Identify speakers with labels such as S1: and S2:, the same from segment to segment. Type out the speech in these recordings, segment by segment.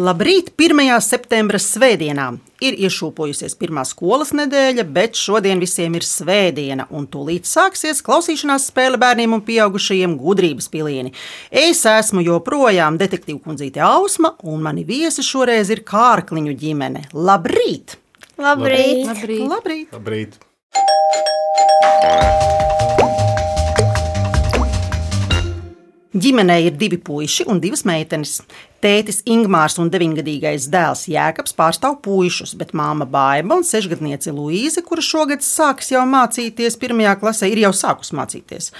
S1: Labrīt! 1. septembra svētdienā ir iešūpojusies pirmā skolas nedēļa, bet šodien visiem ir svētdiena, un tūlīt sāksies klausīšanās spēle bērniem un pieaugušajiem gudrības pilieni. Es esmu joprojām detektīva kundzīte Ausma, un mani viesi šoreiz ir kārkliņu ģimene. Labrīt!
S2: Labrīt!
S1: Labrīt! Labrīt.
S3: Labrīt.
S1: Ģimenei ir divi puiši un divas meitenes. Tētis Ingūns un 9-gadīgais dēls Jēkabs pārstāv puišus, bet māma Baiba un 6-gadniece Luīze, kura šogad sāks jau mācīties, pirmajā klasē ir jau sākus mācīties.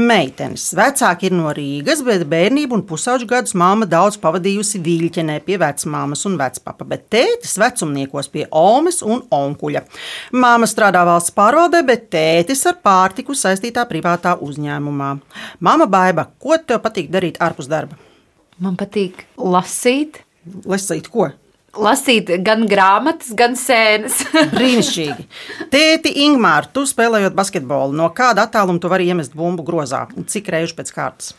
S1: Meitenes vecāki ir no Rīgas, bet bērnību un pusauģu gadus māma daudz pavadījusi viļķenē pie vecmāmas un vecpapa, bet tētis vecumniekos pie omes un onkuļa. Māma strādā valsts pārvaldē, bet tētis ar pārtiku saistītā privātā uzņēmumā. Māma Baiba, ko tev patīk darīt ārpus darba?
S2: Man patīk lasīt.
S1: Lasīt, ko?
S2: Lasīt gan grāmatas, gan sēnes.
S1: Brīnišķīgi. Tēti, Ingūna, tu spēlējot basketbolu, no kāda attāluma tu vari iemest bumbu grozā un cik reizes pēc kārtas?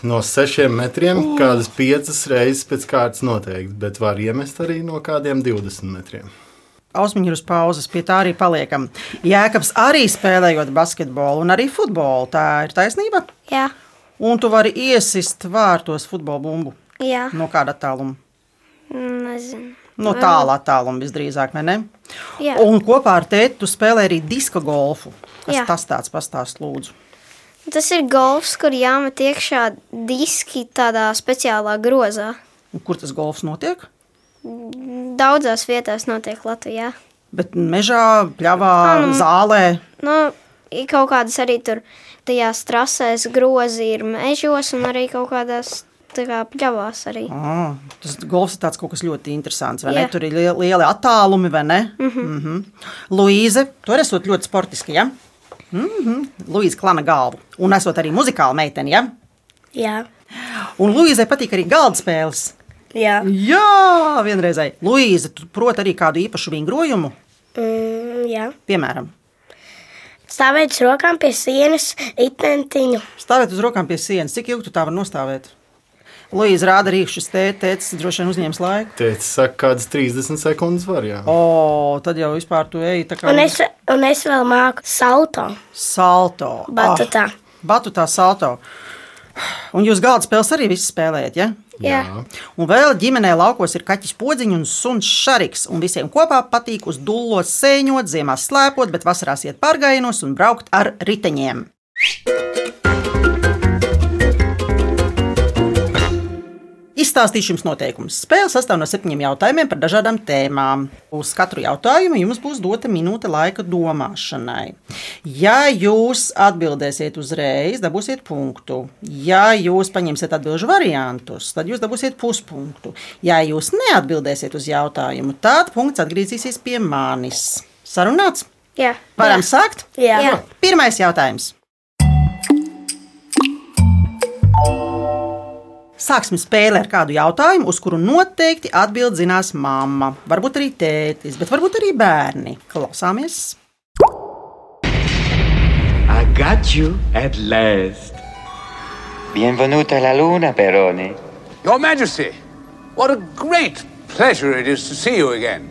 S3: No sešiem metriem kādas piecas reizes pēc kārtas noteikti, bet var iemest arī no kādiem 20 metriem.
S1: Ausmiņš ir uz pauzes, pie tā arī paliekam. Jēkabs arī spēlējot basketbolu un arī futbolu. Tā ir taisnība.
S4: Jā,
S1: Un tu vari iesist vārtos futbola bumbu.
S4: jā.
S1: No kāda attāluma?
S4: nezinu.
S1: No tālā attāluma visdrīzāk, vai ne?
S4: Jā.
S1: Un kopā ar tēti tu spēlē arī diska golfu. Kas
S4: Jā.
S1: tas tāds pastāst, lūdzu?
S4: Tas ir golfs, kur jāmet iekšā diski tādā speciālā grozā.
S1: Un kur tas golfs notiek?
S4: Daudzās vietās notiek Latvijā.
S1: Bet mežā, pļavā, zālē.
S4: Nu, ir kaut kādas arī tur tajās trasēs grozi ir mežos un arī kaut kādās tā kā pļavās arī.
S1: Ah, tas golfs ir tāds kaut kas ļoti interesants. vai ne?
S4: Jā.
S1: Tur ir lieli, lieli attālumi, vai ne? Mm
S5: Mhm.
S1: -hmm. Mm -hmm. Luīze, tu arī esot ļoti sportiski. Ja? Mm -hmm. Luīze klāna galvu. Un esot arī muzikāla meitene. Ja?
S5: Jā,
S1: Un Luīzai patīk arī galda spēles.
S5: jā.
S1: Jā, vienreizēji. Luīze, tu proti arī kādu īpašu vingrojumu,
S5: Mm, jā.
S1: piemēram,
S5: Stāvēt uz rokām pie sienas, itentiņu.
S1: stāvēt uz rokām pie sienas. Cik ilgi tu tā vari nostāvēt? Luīze rāda rīkšķus, tēta droši vien uzņēmis laiku.
S3: Teicis, saka, kādas 30 sekundes var, jā.
S1: Oh. O, tad jau vispār tu eji tā kā
S5: Un es, un es vēl māku salto.
S1: salto.
S5: Batutā.
S1: Ah, batutā salto. Un jūs galda spēles arī visi spēlējat, ja?
S4: Jā.
S1: Un vēl ģimenē laukos ir kaķis podziņš un suns šariks. Un visiem kopā patīk uz dullos sēņot, ziemā slēpot, bet vasarās iet pārgājienos un braukt ar riteņiem. Izstāstīšu jums noteikumus. Spēle sastāv no septiņiem jautājumiem par dažādām tēmām. Uz katru jautājumu jums būs dota minūte laika domāšanai. Ja jūs atbildēsiet uzreiz, dabūsiet punktu. Ja jūs paņemsiet atbildžu variantus, tad jūs dabūsiet puspunktu. Ja jūs neatbildēsiet uz jautājumu, tad punkts atgriezīsies pie manis. Sarunāts?
S4: jā.
S1: Varam sākt?
S5: Jā.
S4: Jā.
S1: Pirmais jautājums. Sāksim spēli ar kādu jautājumu, uz kuru noteikti atbild zinās mamma. Varbūt arī tētis, bet varbūt arī bērni. Klausāmies!
S6: I got you at last.
S7: Bienvenuta a la luna, Peroni.
S8: Your Majesty, what a great pleasure it is to see you again.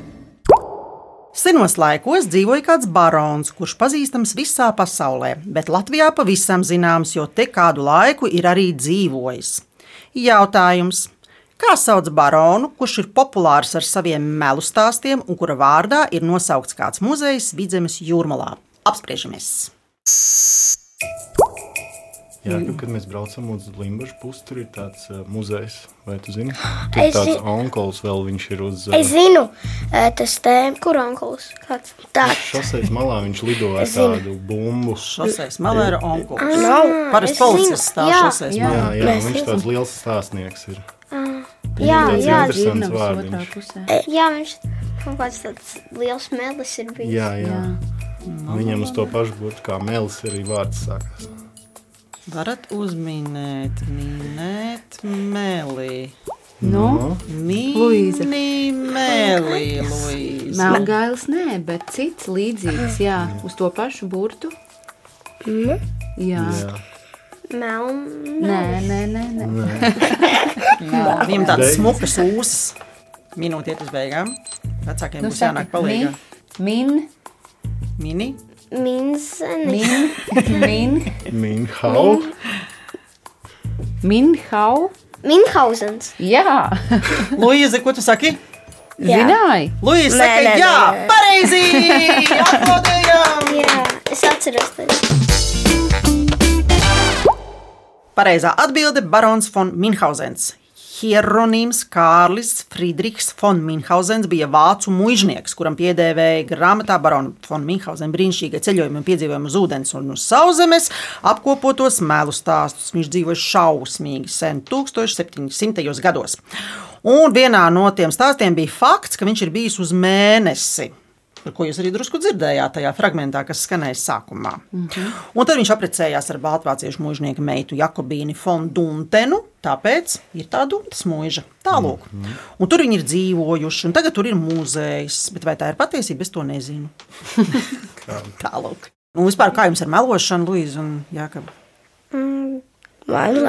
S1: Senos laikos dzīvoja kāds barons, kurš pazīstams visā pasaulē, bet Latvijā pavisam zināms, jo te kādu laiku ir arī dzīvojis. Jautājums. Kā sauc baronu, kurš ir populārs ar saviem melu stāstiem un kura vārdā ir nosaukts kāds muzejs Vidzemes jūrmalā? Apspriežamies!
S3: Jā, nu, kad mēs braucam uz Limbaģu pusi, tur ir tāds uh, muzejs, vai tu zini? Tur
S5: Es
S3: es tāds
S5: zi-
S3: onkulis vēl viņš ir uz
S5: Es zinu, eh, tas te
S4: Kur onkulis? Kāds?
S5: tāds
S3: šoseis eh, malā, viņš lido ar tādu bumbu.
S1: Šoseiz Malēra onkulis.
S5: nav.
S1: Parasti policists stāv
S4: Jā,
S1: šoseiz
S2: Ah, jā.
S1: Malēra.
S3: Jā, jā
S5: Mēs
S3: viņš tāds liels stāstnieks ir.
S4: Jā,
S3: Tāds
S4: jā,
S3: interesants vārdiņš.
S4: Jā, viņš kaut kāds tāds liels melis ir bijis.
S3: Jā, jā. Viņam uz to pašu burtu kā mēlis arī vārds sākās.
S1: Varat uzminēt, minēt meli.
S2: Nu, Luīze.
S1: Mini meli, Luīze.
S2: Melngailis nē, bet cits Nu? līdzīgs. Jā, uz to pašu burtu. Jā,
S3: Jā.
S4: Melna.
S2: Nē, nē, nē. nē.
S1: Viņam tādas
S3: Beigas.
S1: smukas ūsas. Minūte iet uz beigām. Vecākiem būs jānāk palīdzēt.
S2: Nu, Min,
S1: Mini,
S4: Minzene.
S2: min, min,
S3: Minhau.
S2: min, hau.
S4: Minhausens.
S2: Jā,
S1: Luīze, ko tu saki?
S2: zināji.
S1: Luīze,
S5: Nē,
S1: saka,
S5: nē,
S1: jā,
S5: nē.
S1: pareizi! Aplaudējam!
S4: Jā, es atceros tevi.
S1: Pareizā atbilde - Barons von Minhausens. Hieronīms Kārlis Friedrichs von Minhausens bija vācu muiznieks, kuram piedēvēja grāmatā Barona von Minhausena brīnišķīgie ceļojumi un piedzīvojumi uz ūdens un uz sauszemes, apkopotos melu stāstus. Viņš dzīvoja šausmīgi sen, 1700. gados. Un vienā no tiem stāstiem bija fakts, ka viņš ir bijis uz mēnesi. Par ko jūs arī drusku dzirdējāt tajā fragmentā, kas skanēja sākumā. Mm
S4: Mhm.
S1: -hmm. Tad viņš apprecējās ar baltvāciešu mūžnieku meitu Jakobīnu Fondūnu. Tāpēc ir tā dūta mūža. Tālāk. Mm
S4: Mhm.
S1: -hmm. Tur viņi ir dzīvojuši, un tagad tur ir mūzejs. Bet vai tā ir patiesība, es to nezinu. Tālāk. Un vispār kā jums ar melošanu, Luīza un Jākab?
S5: Man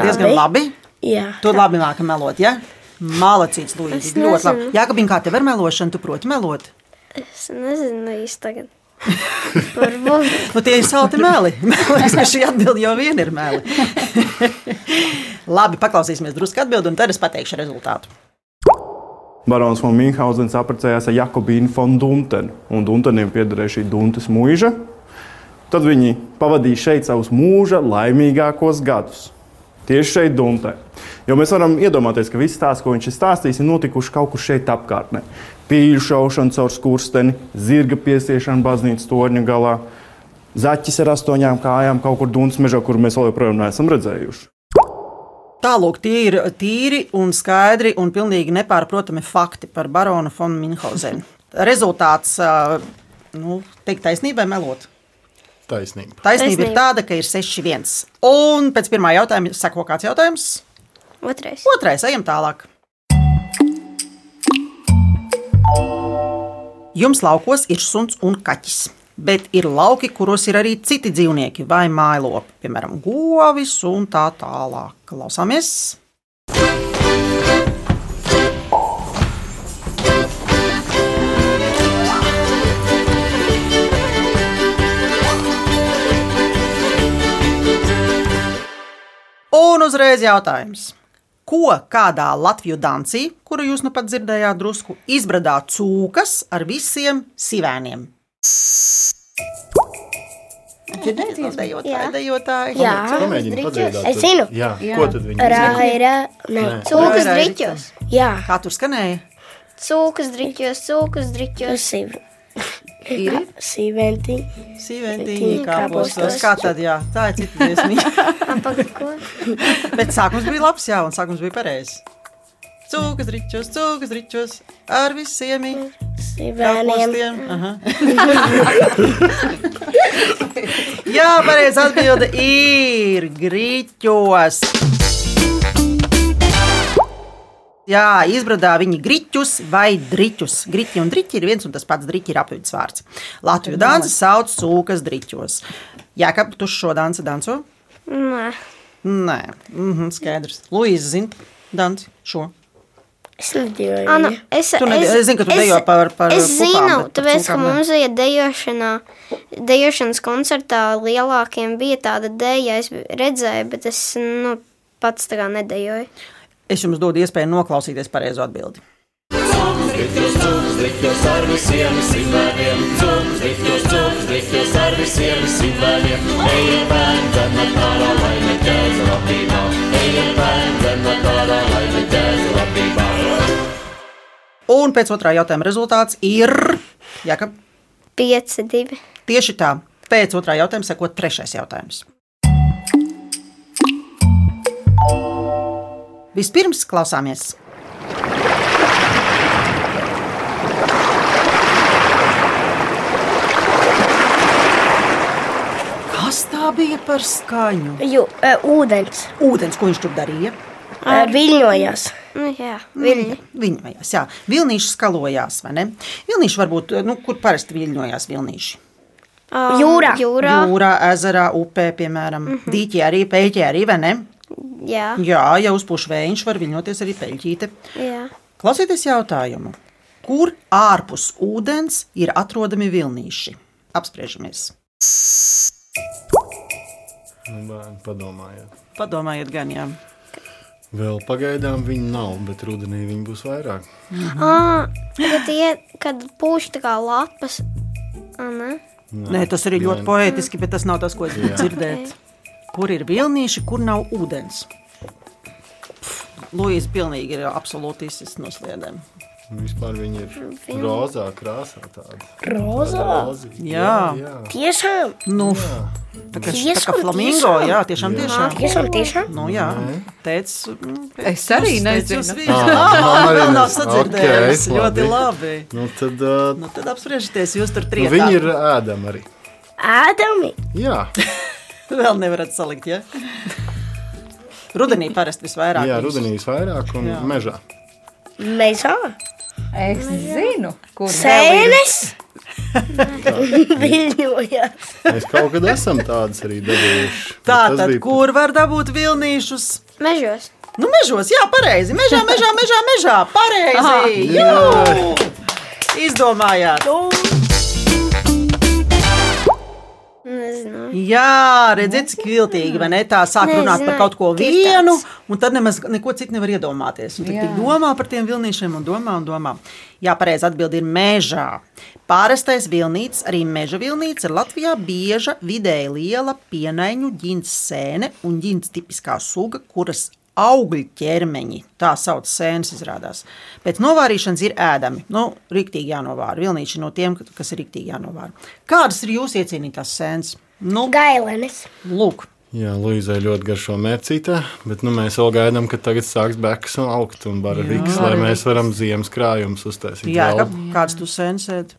S1: Diezgan labi.
S5: Jā.
S1: Tu labi māki melot, ja? Malacīts,
S4: Es
S1: Luīza. Ļoti labi.
S4: nezinu.
S1: Jākabīna, kā tev ar melošanu, tu proti melot?
S4: Es nezinu īsti tagad. Varbūt.
S1: Nu, tie ir salti meli. Mēs šī atbildi jau vien ir meli. Labi, paklausīsimies drusku atbildi, un tad es pateikšu rezultātu.
S9: Barons von Münchhausens apprecējās ar Jakobīnu von Duntenu, un Duntenim piederēja šī Duntes mūža. Tad viņi pavadīja šeit savus mūža laimīgākos gadus. Tieši šeit, Duntē. Jo mēs varam iedomāties, ka viss tās, ko viņš ir stāstījis, ir notikuši kaut kur šeit apkārtnē. Pīļu šaušana caur skursteni, zirga piesiešana baznīcas torņa galā, zaķis ar astoņām kājām kaut kur Duntes mežā, kur mēs vēl joprojām neesam redzējuši.
S1: Tālāk, tie ir tīri un skaidri un pilnīgi nepārprotami fakti par baronu von Minhausenu. Rezultāts, ā, nu, teikt taisnībai melot.
S3: Taisnība.
S1: Taisnība ir
S4: Taisnība.
S1: tāda, ka ir 6-1. Un pēc pirmā jautājuma sako kāds jautājums.
S4: Otrais.
S1: Otrais, ejam tālāk. Jums laukos ir suns un kaķis. Bet ir lauki, kuros ir arī citi dzīvnieki vai mājlopi, piemēram, govis un tā tālāk. Klausāmies! Un uzreiz jautājums. Ko kādā Latviju dancī, kuru jūs nu pat dzirdējāt, drusku izbradā cūkas ar visiem sivēniem?
S4: Jā.
S1: Dzirdējiet, dejotāji.
S5: Jā.
S3: Pamēģini padziedāt.
S5: Es zinu.
S3: Jā. Ko tad viņi zina?
S5: Raira. Nē.
S4: Cūkas
S1: Raira ir
S4: driķos.
S5: Jā.
S1: Kā tur skanēja?
S4: Cūkas driķos, cūkas driķos.
S5: Siv.
S2: Ir
S5: Sīventi.
S1: Sīventiņi
S5: Sīventiņi
S1: kāpostos.
S5: kāpostos.
S1: Kā tad, jā, tā ir cita dziesma.
S4: Apakaļ ko?
S1: Bet sākums bija labs, jā, un sākums bija pareizs. Cūkas ričos, cūkas ričos, ar visiem
S5: Sīveniem.
S1: īstenībām. Jā, pareizi atbilde ir grīķos. Jā, izbradā viņi grīķus vai driķus. Grīķi un driķi ir viens un tas pats driķis, ir apvidus vārds. Latvijas dārza sauc cūkas driķos. Jā, kāpēc tu šo dansu danco?
S4: Nē.
S1: Nē, mm -hmm, skaidrs. Luīza zina, Dārns, šo.
S5: Es nedēļu.
S4: Ana, es,
S1: Tu ned- es zinu, ka tu dejo par- par
S4: Es
S1: pupām,
S4: zinu,
S1: bet par
S4: tāpēc, ka
S1: cūkām ne.
S4: mums bija dejošanā, dejošanas koncertā lielākiem bija tāda deja, es redzēju, bet es, nu, pats tā kā nedejoju.
S1: Es jums dodu iespēju noklausīties pareizo atbildi. Un pēc otrā jautājuma rezultāts ir. Jā, ka
S4: Pieci, divi.
S1: tieši tā. Pēc otrā jautājuma seko trešais jautājums. Vispirms klausāmies. Kas tā bija par skaņu?
S5: Jū, e, ūdens.
S1: Ūdens, ko viņš tur darīja?
S5: E, Viļņojās.
S4: Nu, jā,
S1: Mm.
S4: viļņi.
S1: Viņojās, jā, vilnīši skalojās, vai ne? Vilnīši varbūt, nu, kur parasti viļņojās vilnīši?
S4: Ā,
S5: Jūrā.
S4: Jūrā.
S1: Jūrā, ezerā, upē, piemēram, mm -hmm. dīķī arī, peļķī arī, vai ne?
S4: Jā.
S1: Jā, ja uzpūš vējš, var viļņoties arī peļķīte.
S4: Jā.
S1: Klausieties jautājumu. Kur ārpus ūdens ir atrodami vilnīši? Apspriežamies.
S3: Nu, bērni, Padomājiet.
S1: Padomājiet, gan jā.
S3: Vēl pagaidām viņi nav, bet rudenī viņi būs vairāk.
S4: Ah, kad, ie, kad pūš tā kā lapas. Ah, nē.
S1: Nē, tas arī ļoti poētiski, bet tas nav tas, ko es gribu dzirdēt. Kur ir vilnīši, kur nav ūdens? Lūija pilnīgi ir absolūti izsis no sliedēm.
S3: Nu, Vispār viņi ir rozā krāsā. Tāda.
S5: Rozā.
S3: Rozīgi,
S1: Jā.
S3: jā, jā.
S5: Tiešām,
S1: Nu, tā kā, tā kā
S5: Tiešām,
S1: flamingo, jā, tiešām tiešām.
S5: tiešām, tiešām.
S1: Nu, jā, teic, mm, teic,
S2: Es arī nezinu. Ah.
S1: Tā
S3: man arī
S1: vēl nav
S3: nezinu.
S1: sadzirdējusi.
S3: Ah. Ok,
S1: Ļoti
S3: labi.
S1: labi.
S3: Nu, tad, uh,
S1: Nu, tad apspriežaties, jūs tur
S3: nu,
S1: trīs.
S3: viņi ir ēdami arī.
S5: Ādami,
S3: Jā,
S1: Vēl nevarat salikt, ja? Rudenī parasti visvairāk.
S3: jā
S1: viņus.
S3: rudenī visvairāk un jā. mežā.
S5: mežā,
S2: Es zinu, kur
S5: sēnes, viļņojās.
S3: Mēs kaut kad esam tādas arī dabūjuši. Bet
S1: Tā
S3: tas
S1: tad,
S3: bija-
S1: kur var dabūt vilnīšus?
S4: Mežos.
S1: Nu, mežos, jā, pareizi. Mežā, mežā, mežā, mežā. Pareizi. Jū! Izdomājāt.
S2: Nu.
S4: Nezinu.
S1: Jā, redziet, cik viltīgi, vai ne? Tā sāk
S4: Nezinu,
S1: runāt par kaut ko
S4: tieši
S1: vienu,
S4: tāds.
S1: un tad nemaz neko citu nevar iedomāties. Un tad tik domā par tiem vilnīšiem un domā un domā. Jā, pareizi atbild ir mežā. Pārastais vilnīts, arī meža vilnīts, ir Latvijā bieža vidēji liela pienaiņu ģints sēne un ģints tipiskā suga, kuras augļu ķermeņi, tā sauc sēnes izrādās. Pēc novārīšanas ir ēdami. Nu, riktīgi jānovāra. Vilnīši no tiem, kas ir riktīgi jānovāra. Kādas ir jūsu iecienītās sēnes? Nu,
S5: gailenes.
S1: Lūk,
S3: Jā, Luīzai ļoti garšo mērcītē, bet nu, mēs vēl gaidām, ka tagad sāks beigas un augt un baraviks, lai mēs varam ziemas krājumus uztaisīt.
S1: jā, nu,
S3: vēl.
S1: kā, kāds tu sensēji.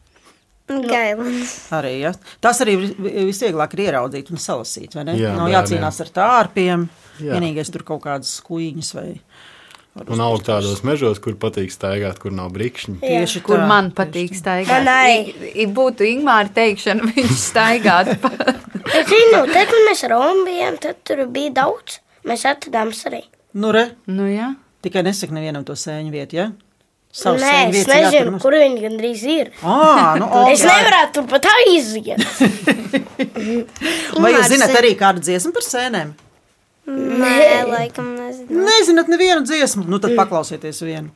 S4: Gailins.
S1: Arī, ja? Tas arī ir vi- visvieglāk ir ieraudzīt un salasīt. vai ne?
S3: Jā,
S1: Nav
S3: bērniem.
S1: jācīnās ar tārpiem. Jā.
S3: Jā.
S1: Vienīgais tur kaut kādas kuģiņas vai
S3: Un augt tādos mežos, kur patīk staigāt, kur nav brīkšņi.
S1: tieši
S2: Kur
S1: tā.
S2: man patīk staigāt?
S5: Man arī.
S2: I- i- Būtu Ingūna teikšana, viņš staigātu pa
S5: Es zinu, tad, kad mēs rombījām, tad tur bija daudz. Mēs atradām arī.
S1: Nu, re,
S2: nu, jā.
S1: tikai nesaka nevienam to sēņu vietu, ja? Savu
S5: Nē,
S1: sēņu
S5: es
S1: vietu
S5: nezinu, kur viņi gandrīz ir.
S1: Ah, nu, o,
S5: Es nevaru tur pat aiziet.
S1: Vai jūs
S4: Ingmārs
S1: zināt
S4: ir-
S1: arī kādu dziesmu par sēnēm?
S4: Nē, laikam nezinu.
S1: Nezināt nevienu dziesmu, nu
S5: Mm.
S1: tad paklausieties vienu.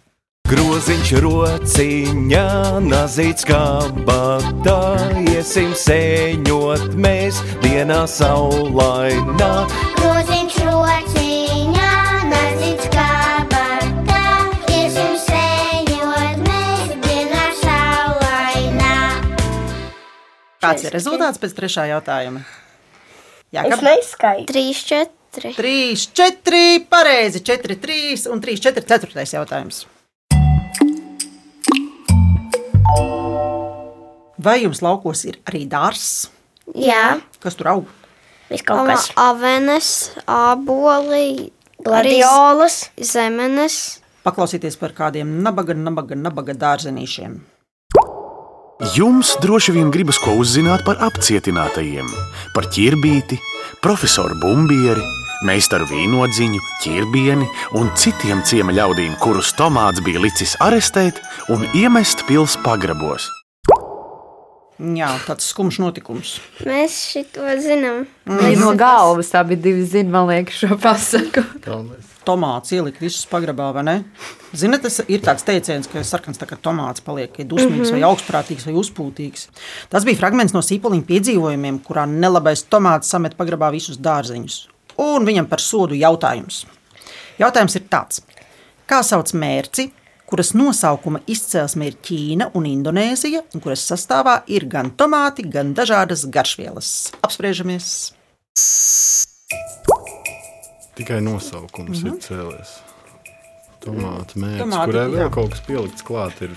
S10: Groziņš rociņā, nazīts kabatā, iesim sēņot mēs dienā saulainā.
S11: Grūziņš rociņā, naziņš kabatā, iesim sējot mēs dienā saulainā.
S1: Kāds ir rezultāts pēc trešā jautājuma? Jā,
S5: Es neizskaidu.
S4: 3, 4.
S1: 3, 4, pareizi, 4, 3 un 3, 4, 4 jautājums. Vai jums laukos ir arī dārsts,
S4: Jā.
S1: kas tur aug?
S5: Viss kaut kas.
S4: Avenes, āboli,
S5: Gladiolas.
S4: zemenes.
S1: Paklausieties par kādiem nabaga, nabaga, nabaga dārzenīšiem.
S10: Jums droši vien gribas ko uzzināt par apcietinātajiem, par ķirbīti, profesoru bumbieri, meistaru vīnodziņu, ķirbieni un citiem ciema ļaudīm, kurus Tomāts bija licis arestēt un iemest pils pagrabos.
S1: Jā, tāds skumjš notikums.
S4: Mēs šito zinām.
S2: Mēs no galvas abi divi zinām, man liekas, šo pasaku.
S3: Galvenais.
S1: Tomāts ielikt visus pagrabā, vai ne? Ziniet, tas ir tāds teiciens, ka sarkans tā kā tomāts paliek ja dusmīgs, mm -hmm. vai augstprātīgs, vai uzpūtīgs. Tas bija fragments no sīpoliņa piedzīvojumiem, kurā nelabais tomāts samet pagrabā visus dārzeņus. Un viņam par sodu jautājums. Jautājums ir tāds: kā sauc mērci, kuras nosaukuma izcelsme ir Ķīna un Indonēzija, un kuras sastāvā ir gan tomāti, gan dažādas garšvielas? Apspriežamies!
S3: Tikai nosaukums ir cēlies. Tomātu mērķis,
S1: Tomāti,
S3: kurai vēl
S1: jā.
S3: kaut kas pielikts klāt, ir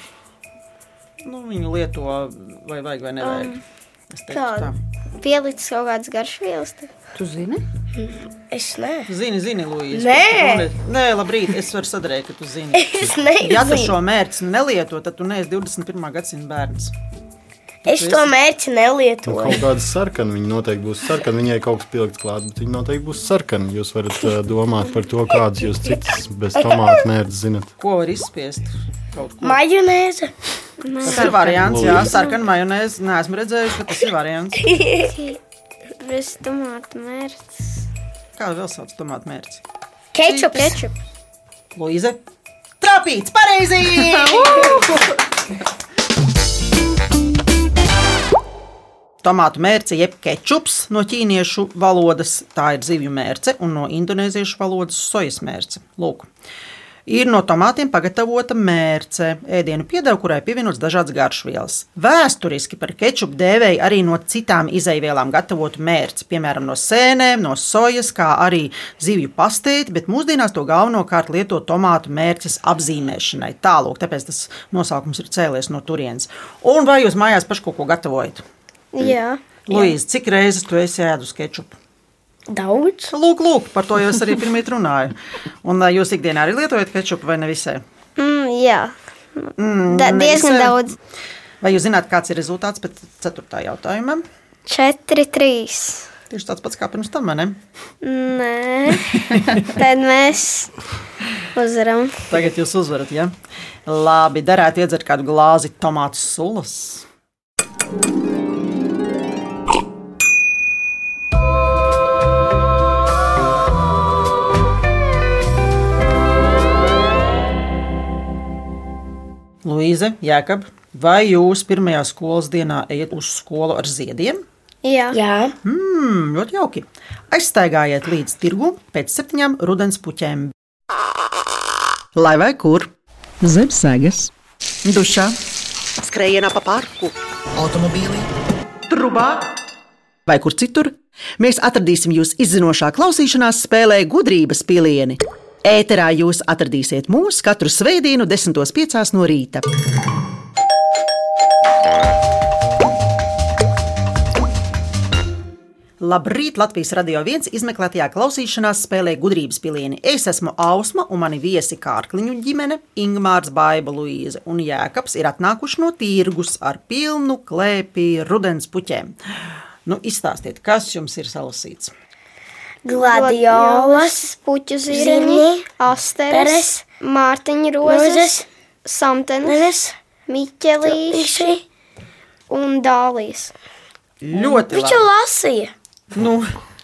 S1: Nu, viņu lieto vai vajag vai nevajag. Es teiktu
S4: tā.
S1: tā.
S4: Pielicis kaut kādas garšvielas. tā.
S2: Tu zini?
S5: Es nē.
S1: Zini, zini, Lūija.
S5: Nē!
S1: Nē, labrīt, es varu sadarīt, ka tu zini.
S5: Es
S1: Ja tu
S5: nezinu.
S1: šo mērķi nelieto, tad tu neesi 21. gadsimta bērns.
S5: Es to mērķi
S3: Nu, kaut
S5: nelietoju.
S3: kāda sarkana viņa noteikti būs. Sarkana viņai kaut kas pielikts klāt, bet viņa noteikti būs sarkana. Jūs varat eh, domāt par to, kādas jūs citas bez tomātu mērķis zinat.
S1: Ko var izspiest? Kaut ko.
S5: Majonēze.
S1: Tas ir variants, jā, sarkanā majonēzē. Nē, esmu redzējis, ka tas ir variants.
S4: Bez tomātu mērķis.
S1: Kā vēl sauc tomātu mērķi?
S5: Kečups.
S4: Kečup.
S1: Luīze. Trapīts, pareizi! Tomātu mērce, jeb kečups no ķīniešu valodas, tā ir zivju mērce, un no indonēziešu valodas sojas mērce. Lūk. Ir no tomātiem pagatavota mērce, ēdienu piedeva, kurai pievienots dažādas garšvielas. Vēsturiski par kečupu dēvēja arī no citām izaivielām gatavotu mērci, piemēram, no sēnēm, no sojas, kā arī zivju pastēti, bet mūsdienās to galvenokārt lieto tomātu mērces apzīmēšanai. Tālāk, tāpēc tas nosaukums ir cēlies no turienes. Un vai jūs mājās paši kaut ko gatavojat?
S4: Jā.
S1: Lūdzu, cik reizes tu esi ēdus kečupu?
S5: Daudz.
S1: Lūk, lūk, par to jau es arī pirmie runāju. Un ā, jūs ikdienā arī lietojat kečupu vai ne visai?
S4: Mm, jā.
S1: Mm,
S4: Da,
S1: ne
S4: diezgan
S1: visai.
S4: daudz.
S1: Vai jūs zināt, kāds ir rezultāts pēc ceturtā jautājuma?
S4: 4, 3.
S1: Tieši tāds pats kā pirms tam, vai ne?
S4: Nē, tad mēs uzvaram.
S1: Tagad jūs uzvarat, ja? Labi, darētu iedzert kādu glāzi tomātu sulas. Luīze, Jēkab, vai jūs pirmajā skolas dienā ejat uz skolu ar ziediem?
S4: Jā.
S5: Jā.
S1: Mm, ļoti jauki. Aizstaigājiet līdz tirgu pēc septiņām rudens puķēm. Lai vai kur? Zem sēgas, dušā, skrejienā pa parku, automobīlī, trubā vai kur citur. Mēs atradīsim jūs izzinošā klausīšanās spēlē gudrības pilieni. Ēterā jūs atradīsiet mūs katru svētdienu, 10.5. no rīta. Labrīt! Latvijas radio viens izmeklētajā klausīšanās spēlē gudrības pilieni. Es esmu Ausma un mani viesi Kārkliņu ģimene, Ingūns, Baiba, Luīze un Jēkabs ir atnākuši no tirgus ar pilnu klēpī rudens puķēm. Nu, izstāstiet, kas jums ir salasīts?
S5: Gladiolas.
S4: puķu
S5: Zirņi,
S4: zirņi, asteres,
S5: peres,
S4: mārtiņa
S5: rozes,
S4: rozes, samtenes, miķelīši
S5: Līši.
S4: un dālijas.
S1: Ļoti
S5: Viņš jau
S1: labi.
S5: lasīja.
S1: Nu,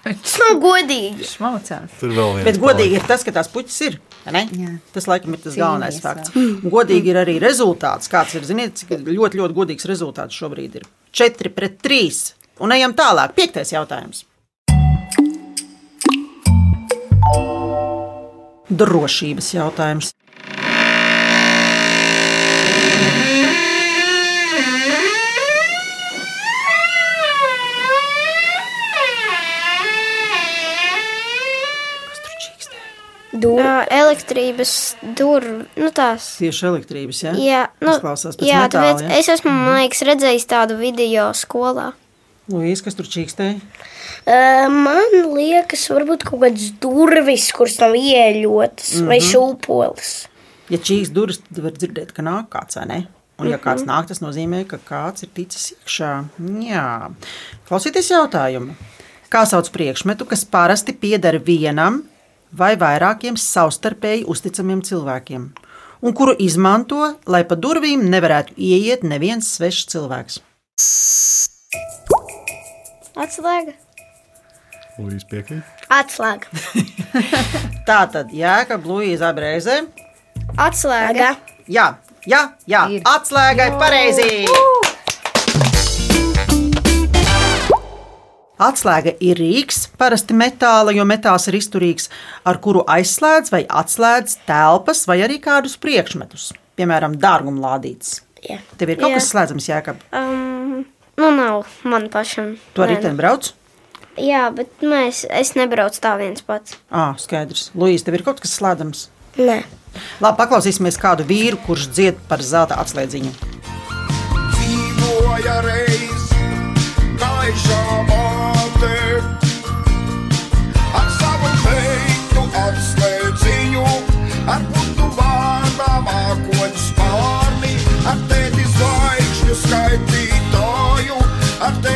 S5: Tas nav godīgi.
S2: Šmaucās.
S3: Tur vēl viena.
S1: Bet godīgi ir tas, ka tās puķis ir. vai ne? Tas laikam ir tas galvenais fakts. Un Godīgi ir arī rezultāts. Kāds ir, ziniet, cik ļoti, ļoti godīgs rezultāts šobrīd ir? 4 pret 3. Un ejam tālāk. Piektais jautājums. Drošības jautājums. Kas tur čīkstē?
S5: Dūri.
S4: Ā, Elektrības durvis, nu tās.
S1: Tieši elektrības, jā?
S4: Jā, nu,
S1: Izklausās pēc
S4: jā,
S1: metāla,
S4: tāpēc
S1: jā?
S4: es esmu, man liekas, redzējis tādu video skolā.
S1: Lūdzu, kas tur čīkstē?
S5: Ā, Man liekas, varbūt kaut kāds durvis, kuras nav ieļotas, vai
S1: Mhm.
S5: šūpolis.
S1: Ja čīkst durvis, tad var dzirdēt, ka nāk kāds vai ne. Un, ja
S4: Mhm.
S1: kāds nāk, tas nozīmē, ka kāds ir ticis iekšā. Jā, klausieties jautājumu. Kā sauc priekšmetu, kas parasti pieder vienam vai vairākiem savstarpēji uzticamiem cilvēkiem, un kuru izmanto, lai pa durvīm nevarētu ieiet neviens svešs cilvēks?
S4: Atslēga.
S3: Lūdzu, piekrīt.
S5: Atslēga.
S1: Tā tad, Jēkab, Lūija, Abreizē.
S4: Atslēga.
S5: Aga.
S1: Jā, jā, jā
S2: Ir.
S1: atslēgai pareizi! Atslēga ir rīks, parasti metāla, jo metāls ir izturīgs, ar kuru aizslēdz vai atslēdz telpas vai arī kādus priekšmetus, piemēram, dārgumlādītes.
S5: Jā.
S1: Tev ir kaut
S4: Jā.
S1: kas slēdzams, jēkab.
S4: Um, nu, nav man pašam.
S1: Tu arī
S4: Nē,
S1: ten brauc?
S4: Jā, bet mēs, es nebraucu tā viens pats.
S1: Ā, skaidrs. Luīs, tev ir kaut kas slēdzams.
S5: Nē.
S1: Labi, paklausīsimies kādu vīru, kurš dzied par zelta atslēdziņu.
S12: dzīvoja reiz, gaišā māte. Ar savu veidu apslēdziņu, ar putu vārdā mākoņu spārni, ar tēti zvaigžņu skaitītāju.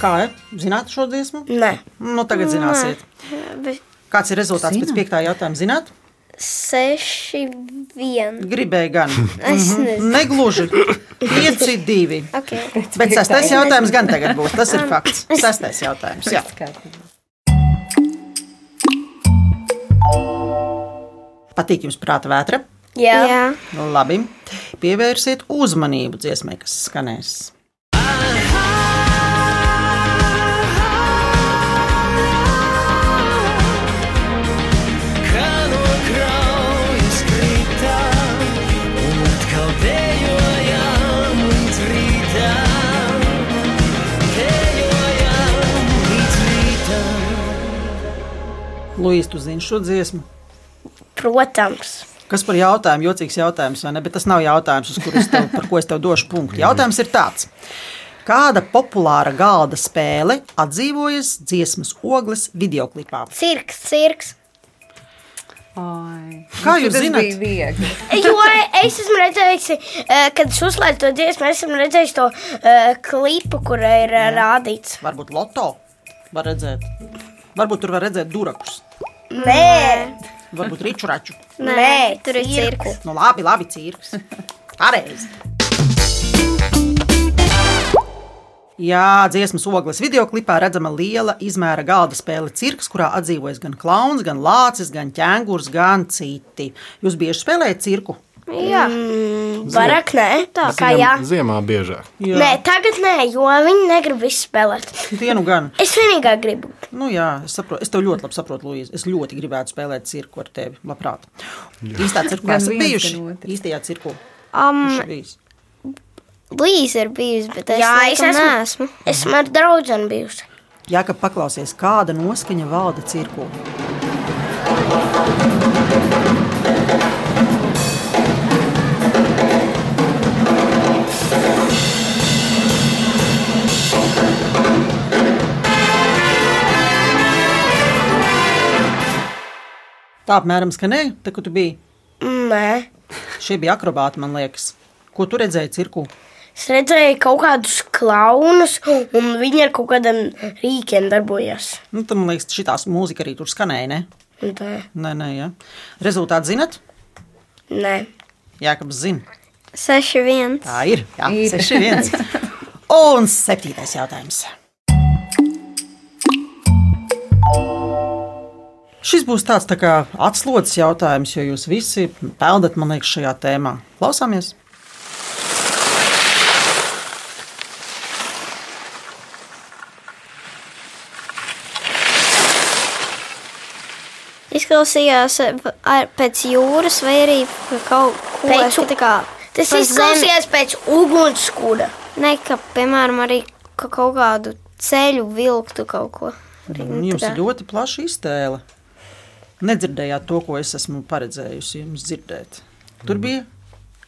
S1: Kā ir? Zināt šo dziesmu?
S5: Nē.
S1: Nu, tagad zināsiet.
S5: Bet
S1: Kāds ir rezultāts pēc piektā jautājuma? Zināt?
S5: seši, viens.
S1: Gribēju gan.
S5: Es
S1: Mhm.
S5: nezinu.
S1: Negluži. 5, 2.
S5: Okay.
S1: Bet sastais jautājums gan tagad būs. Tas ir fakts. Sastais jautājums. Jā. Patīk jums prāta vētra?
S5: Jā. Jā.
S1: Nu, Labi. Pievērsiet uzmanību dziesmai, kas skanēs. Luīs, tu zini šo dziesmu?
S5: Protams.
S1: Kas par jautājumu? Jocīgs jautājums, vai ne? Bet tas nav jautājums, uz kuru es tev, par ko es tev došu punktu. Jautājums ir tāds. Kāda populāra galda spēle atdzīvojas dziesmas ogles videoklipā?
S5: Cirks, cirks.
S2: Nu,
S1: Kā jūs zināt?
S5: Jo e, es esmu redzējis, eh, kad es uzlaidu to dziesmu, es esmu redzējis to eh, klipu, kur ir eh, rādīts.
S1: Varbūt loto var redzēt. Varbūt tur var redzēt durakus,
S5: Nē,
S1: varbūt riču raču.
S5: nē, tur ir cirks.
S1: Nu, labi, labi, cirks. Pareizi. Jā, dziesmas ogles videoklipā redzama liela izmēra galda spēle cirks, kurā atdzīvojas gan klauns, gan lācis, gan ķēngurs, gan citi. Jūs bieži spēlējat cirku?
S5: Jā, vairāk nē, tā kā jā.
S3: Ziem, ziemā biežāk.
S5: Nē, tagad nē, jo viņi negrib visu spēlēt.
S1: Dienu nu gan.
S5: Es vienīgā gribu.
S1: Nu, jā, es, saprotu, es tev ļoti labi saprotu, Lūija. Es ļoti gribētu spēlēt cirku ar tevi. Labprāt. Īstā cirkā
S2: Gan
S1: esat
S2: viens, gan
S1: bijuši. Īstajā cirku.
S4: Um,
S1: Kurš ir bijis?
S4: Līza ir bijusi, bet es,
S5: Jā, es
S4: laikam
S5: esmu.
S4: neesmu.
S5: Esmu ar draugiem bijusi.
S1: Jā, ka paklausies, kāda noskaņa valda cirku. Tā apmēram skanēja, te, kur tu biji.
S5: Nē,
S1: Šie bija akrobāti, man liekas. Ko tu redzēji cirku?
S5: es redzēju kaut kādus klaunus, un viņi ar kaut kādiem rīkiem darbojās.
S1: Nu, tad, man liekas, šī mūzika arī tur skanēja. Ne?
S5: Un tā,
S1: Nē, nē, jā. Rezultāti zinat?
S5: Nē,
S1: Jā, kāpēc zina.
S4: 6, 1.
S1: Tā ir. Jā, seši viens. Un septītais jautājums. Šis būs tāds tā kā atslodzes jautājums, jo jūs visi peldat, man liekas, šajā tēmā. Klausāmies!
S4: Izklausījās eh, p- ar- pēc jūras vai arī p- kaut ko
S5: Pēc u-
S4: tādu kā.
S5: tas
S4: pa
S5: izklausījās pēc ugunskura.
S4: zemi- Ne, ka, piemēram, arī ka kaut kādu ceļu vilktu kaut ko.
S1: Nu, Jums ir ļoti plaša iztēle. Nedzirdējāt to, ko es esmu paredzējusi jums dzirdēt. Tur bija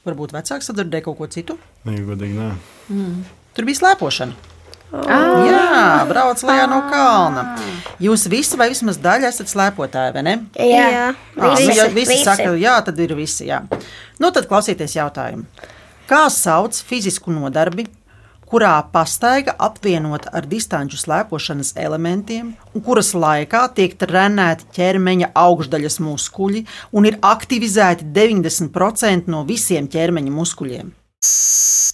S1: varbūt vecāks, sadzirdēja kaut ko citu.
S3: Nē, godīgi, nē.
S1: Tur bija slēpošana. Jā, brauc lejā no kalna. Jūs visi, vai vismaz daļa, esat slēpotāji, vai ne?
S5: Jā, Ah,
S4: Jā.
S1: Ā, nu, ja visi
S5: visi.
S1: saka, jā, tad ir visi. Jā. Nu, tad klausieties jautājumu. Kā sauc fizisku nodarbi, kurā pastaiga apvienota ar distanču slēpošanas elementiem, un kuras laikā tiek trenēti ķermeņa augšdaļas muskuļi un ir aktivizēti 90% no visiem ķermeņa muskuļiem?
S4: Es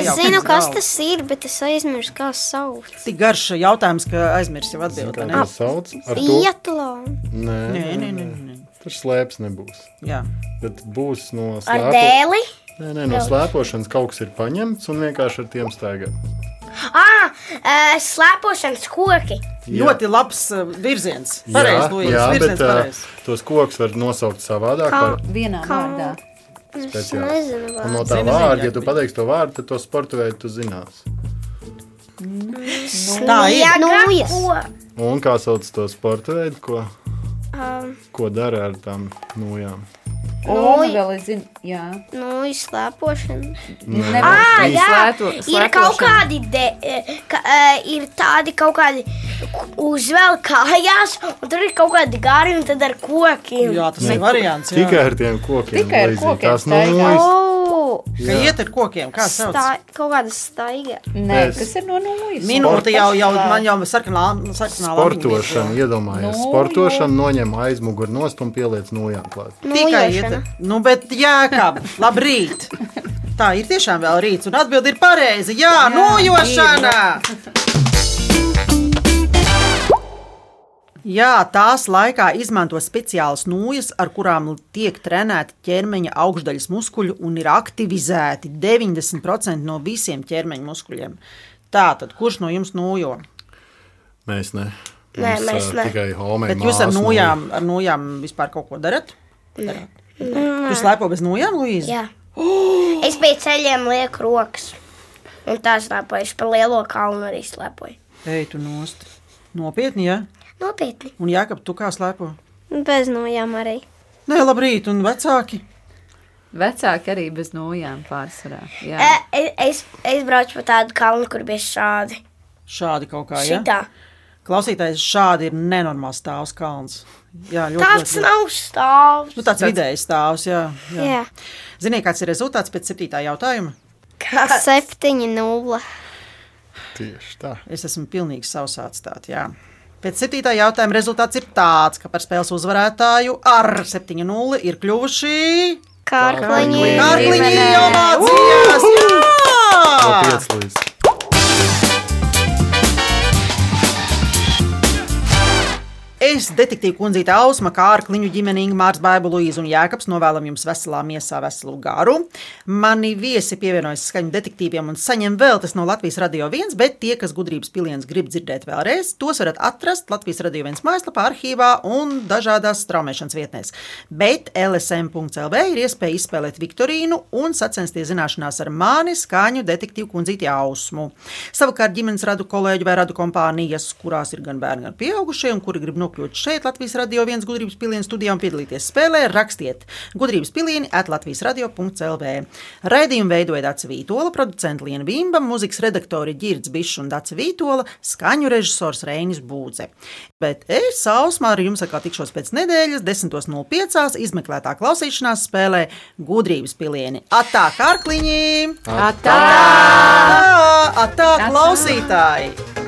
S1: Sajaukt
S4: zinu,
S1: jums
S4: kas
S1: galvu.
S4: tas ir, bet es aizmirsu, kā sauc.
S1: Tik garš jautājums, ka aizmirsīsim atbildēt.
S3: Kā
S1: vai ne?
S3: tas sauc? Ar to?
S4: Ietlāns.
S3: Nē,
S1: Nē, nē, nē, nē.
S3: Tur slēpes nebūs.
S1: Jā.
S3: Bet būs no
S5: Ar
S3: slēpošanas.
S5: dēli?
S3: Nē, nē, no slēpošanas kaut kas ir paņemts un vienkārši ar tiem staigā.
S5: Ah, eh, slēpošanas koki.
S3: Jā.
S1: Ļoti labs uh, virziens.
S3: Jā,
S1: Pareizi, Lūdzu,
S3: jā, bet eh,
S1: virziens
S3: ā,
S1: pareizs.
S3: tos kokus var nosaukt savādāk. Par,
S2: Vienā vārdā.
S4: Es
S3: speciāli.
S4: nezinu,
S3: un no
S4: vai
S3: tā
S1: Zini,
S3: vārda,
S1: zini,
S3: ja tu
S1: jā.
S3: pateiksi to vārdu, tad to sporta veidu tu zinās.
S1: Tā ir.
S5: Nu,
S4: Nūjas.
S3: Un kā sauc to sporta veidu, ko,
S4: Um,
S3: ko dara ar tām nojām?
S2: Loma vēl es zinu, jā.
S4: Nu, izslēpošana.
S2: Nevar.
S5: Ah, jā,
S2: Slēto-
S5: ir kaut
S2: slēpošana.
S5: kādi, de, e, ka, e, ir tādi kaut kādi ku- uzvelk kājās, un tur ir kaut kādi gari un tad ar kokiem.
S1: Jā, tas ir variants. jā.
S3: Tikai ar tiem kokiem.
S5: Tikai ar
S3: Līdzīgi,
S5: kokiem
S3: tās
S5: staigā.
S3: nu, es-
S4: Oh,
S1: Kā iet ar kokiem? Kā sauc?
S4: stā, kaut kāda staiga.
S2: Nē,
S3: Es-
S2: kas ir no nulles?
S1: Minūte jau, jau man jau sarkanā, sarkanā
S3: Sportošana, iedomājieties,
S2: Nu,
S3: sportošana noņem aizmuguri nost un pieliec nojām klāt.
S1: Tikai iet. Nu, bet jā, kā, labrīt. Tā ir tiešām vēl rīts, un atbildi ir pareizi. Jā, jā nojošana! Jā, tās laikā izmanto speciālas nūjas, ar kurām tiek trenēti ķermeņa augšdaļas muskuļi un ir aktivizēti 90% no visiem ķermeņa muskuļiem. Tātad, kurš no jums nojo?
S3: Mēs ne.
S5: Nē,
S3: Mums,
S5: mēs
S3: ā,
S5: ne.
S3: Tikai homēm.
S1: Bet jūs ar nojām, ar nojām vispār kaut ko darat? Jūs slēpo bez nojām, Luīze?
S5: Jā. Es pie ceļiem lieku rokas. Un tā slēpoju. Es pa lielo kalnu arī slēpoju.
S1: Ej, tu nost. Nopietni, jā.
S4: Nopietni.
S1: Un Jākap, tu kā slēpo?
S4: Bez nojām arī.
S1: Nē, labrīt, un vecāki.
S2: Vecāki arī bez nojām pārsvarā. Jā.
S5: E, e- es, es braucu pa tādu kalnu, kur bija šādi.
S1: Šādi kaut kā. jā?
S5: Šitā.
S1: Klausītājs šādi ir nenormāls stāvs kalns. Jā, ļoti
S5: Tāds
S1: ļoti-
S5: nav stāvs.
S1: Nu, tāds vidējs stāvs, jā.
S4: Jā.
S1: jā. Ziniet, kāds ir rezultāts pēc septītā jautājuma?
S5: Kāds?
S4: Septiņi nulle.
S3: Tieši tā.
S1: Es esmu pilnīgi sausāts tāds. Jā. Pēc septītā jautājuma rezultāts ir tāds, ka par spēles uzvarētāju ar 7-0 ir kļuvuši
S4: Kārkliņi.
S1: Kārkliņi
S4: Ģimene.
S1: jau mācījās! Jā!
S3: Piec līdz.
S1: Es, detektīva kundzīte Ausma, kā ar kliņu ģimeni Ingūns, Bāba Luīza un Jēkabs, novēlam jums veselā miesā, veselu garu. Mani viesi pievienojas skaņu detektīviem un saņem vēl tas no Latvijas Radio 1, bet tie, kas gudrības piliens grib dzirdēt vēlreiz, tos varat atrast Latvijas Radio 1 mājaslapā, arhīvā un dažādās straumēšanas vietnēs. Bet LSM.CLV ir iespēja izspēlēt Viktorīnu un sacensties zināšanās ar mani, skaņu detektīvu kundzīti Ausmu. Savukārt ģimenes radu kolēģi vai radu kompānijas, kurās ir gan bērni, gan pieaugušie, un kuri grib nokļūt šeit Latvijas radio viens gudrības pilienu studijā un piedalīties spēlē, rakstiet gudrības pilieni at Latvijas radio.clv. Raidījumu veidoja Dācis Vītola, producents Liena Bimba, mūzikas redaktori Girds Bišs un Dācis Vītola, skaņu režisors Reinis Būdze. Bet es sausmā ar jums atkal tikšos pēc nedēļas 10.05. izmeklētā klausīšanās spēlē gudrības pilieni. Atā, kārkliņi!
S2: Atā!
S1: Atā, klausītāji!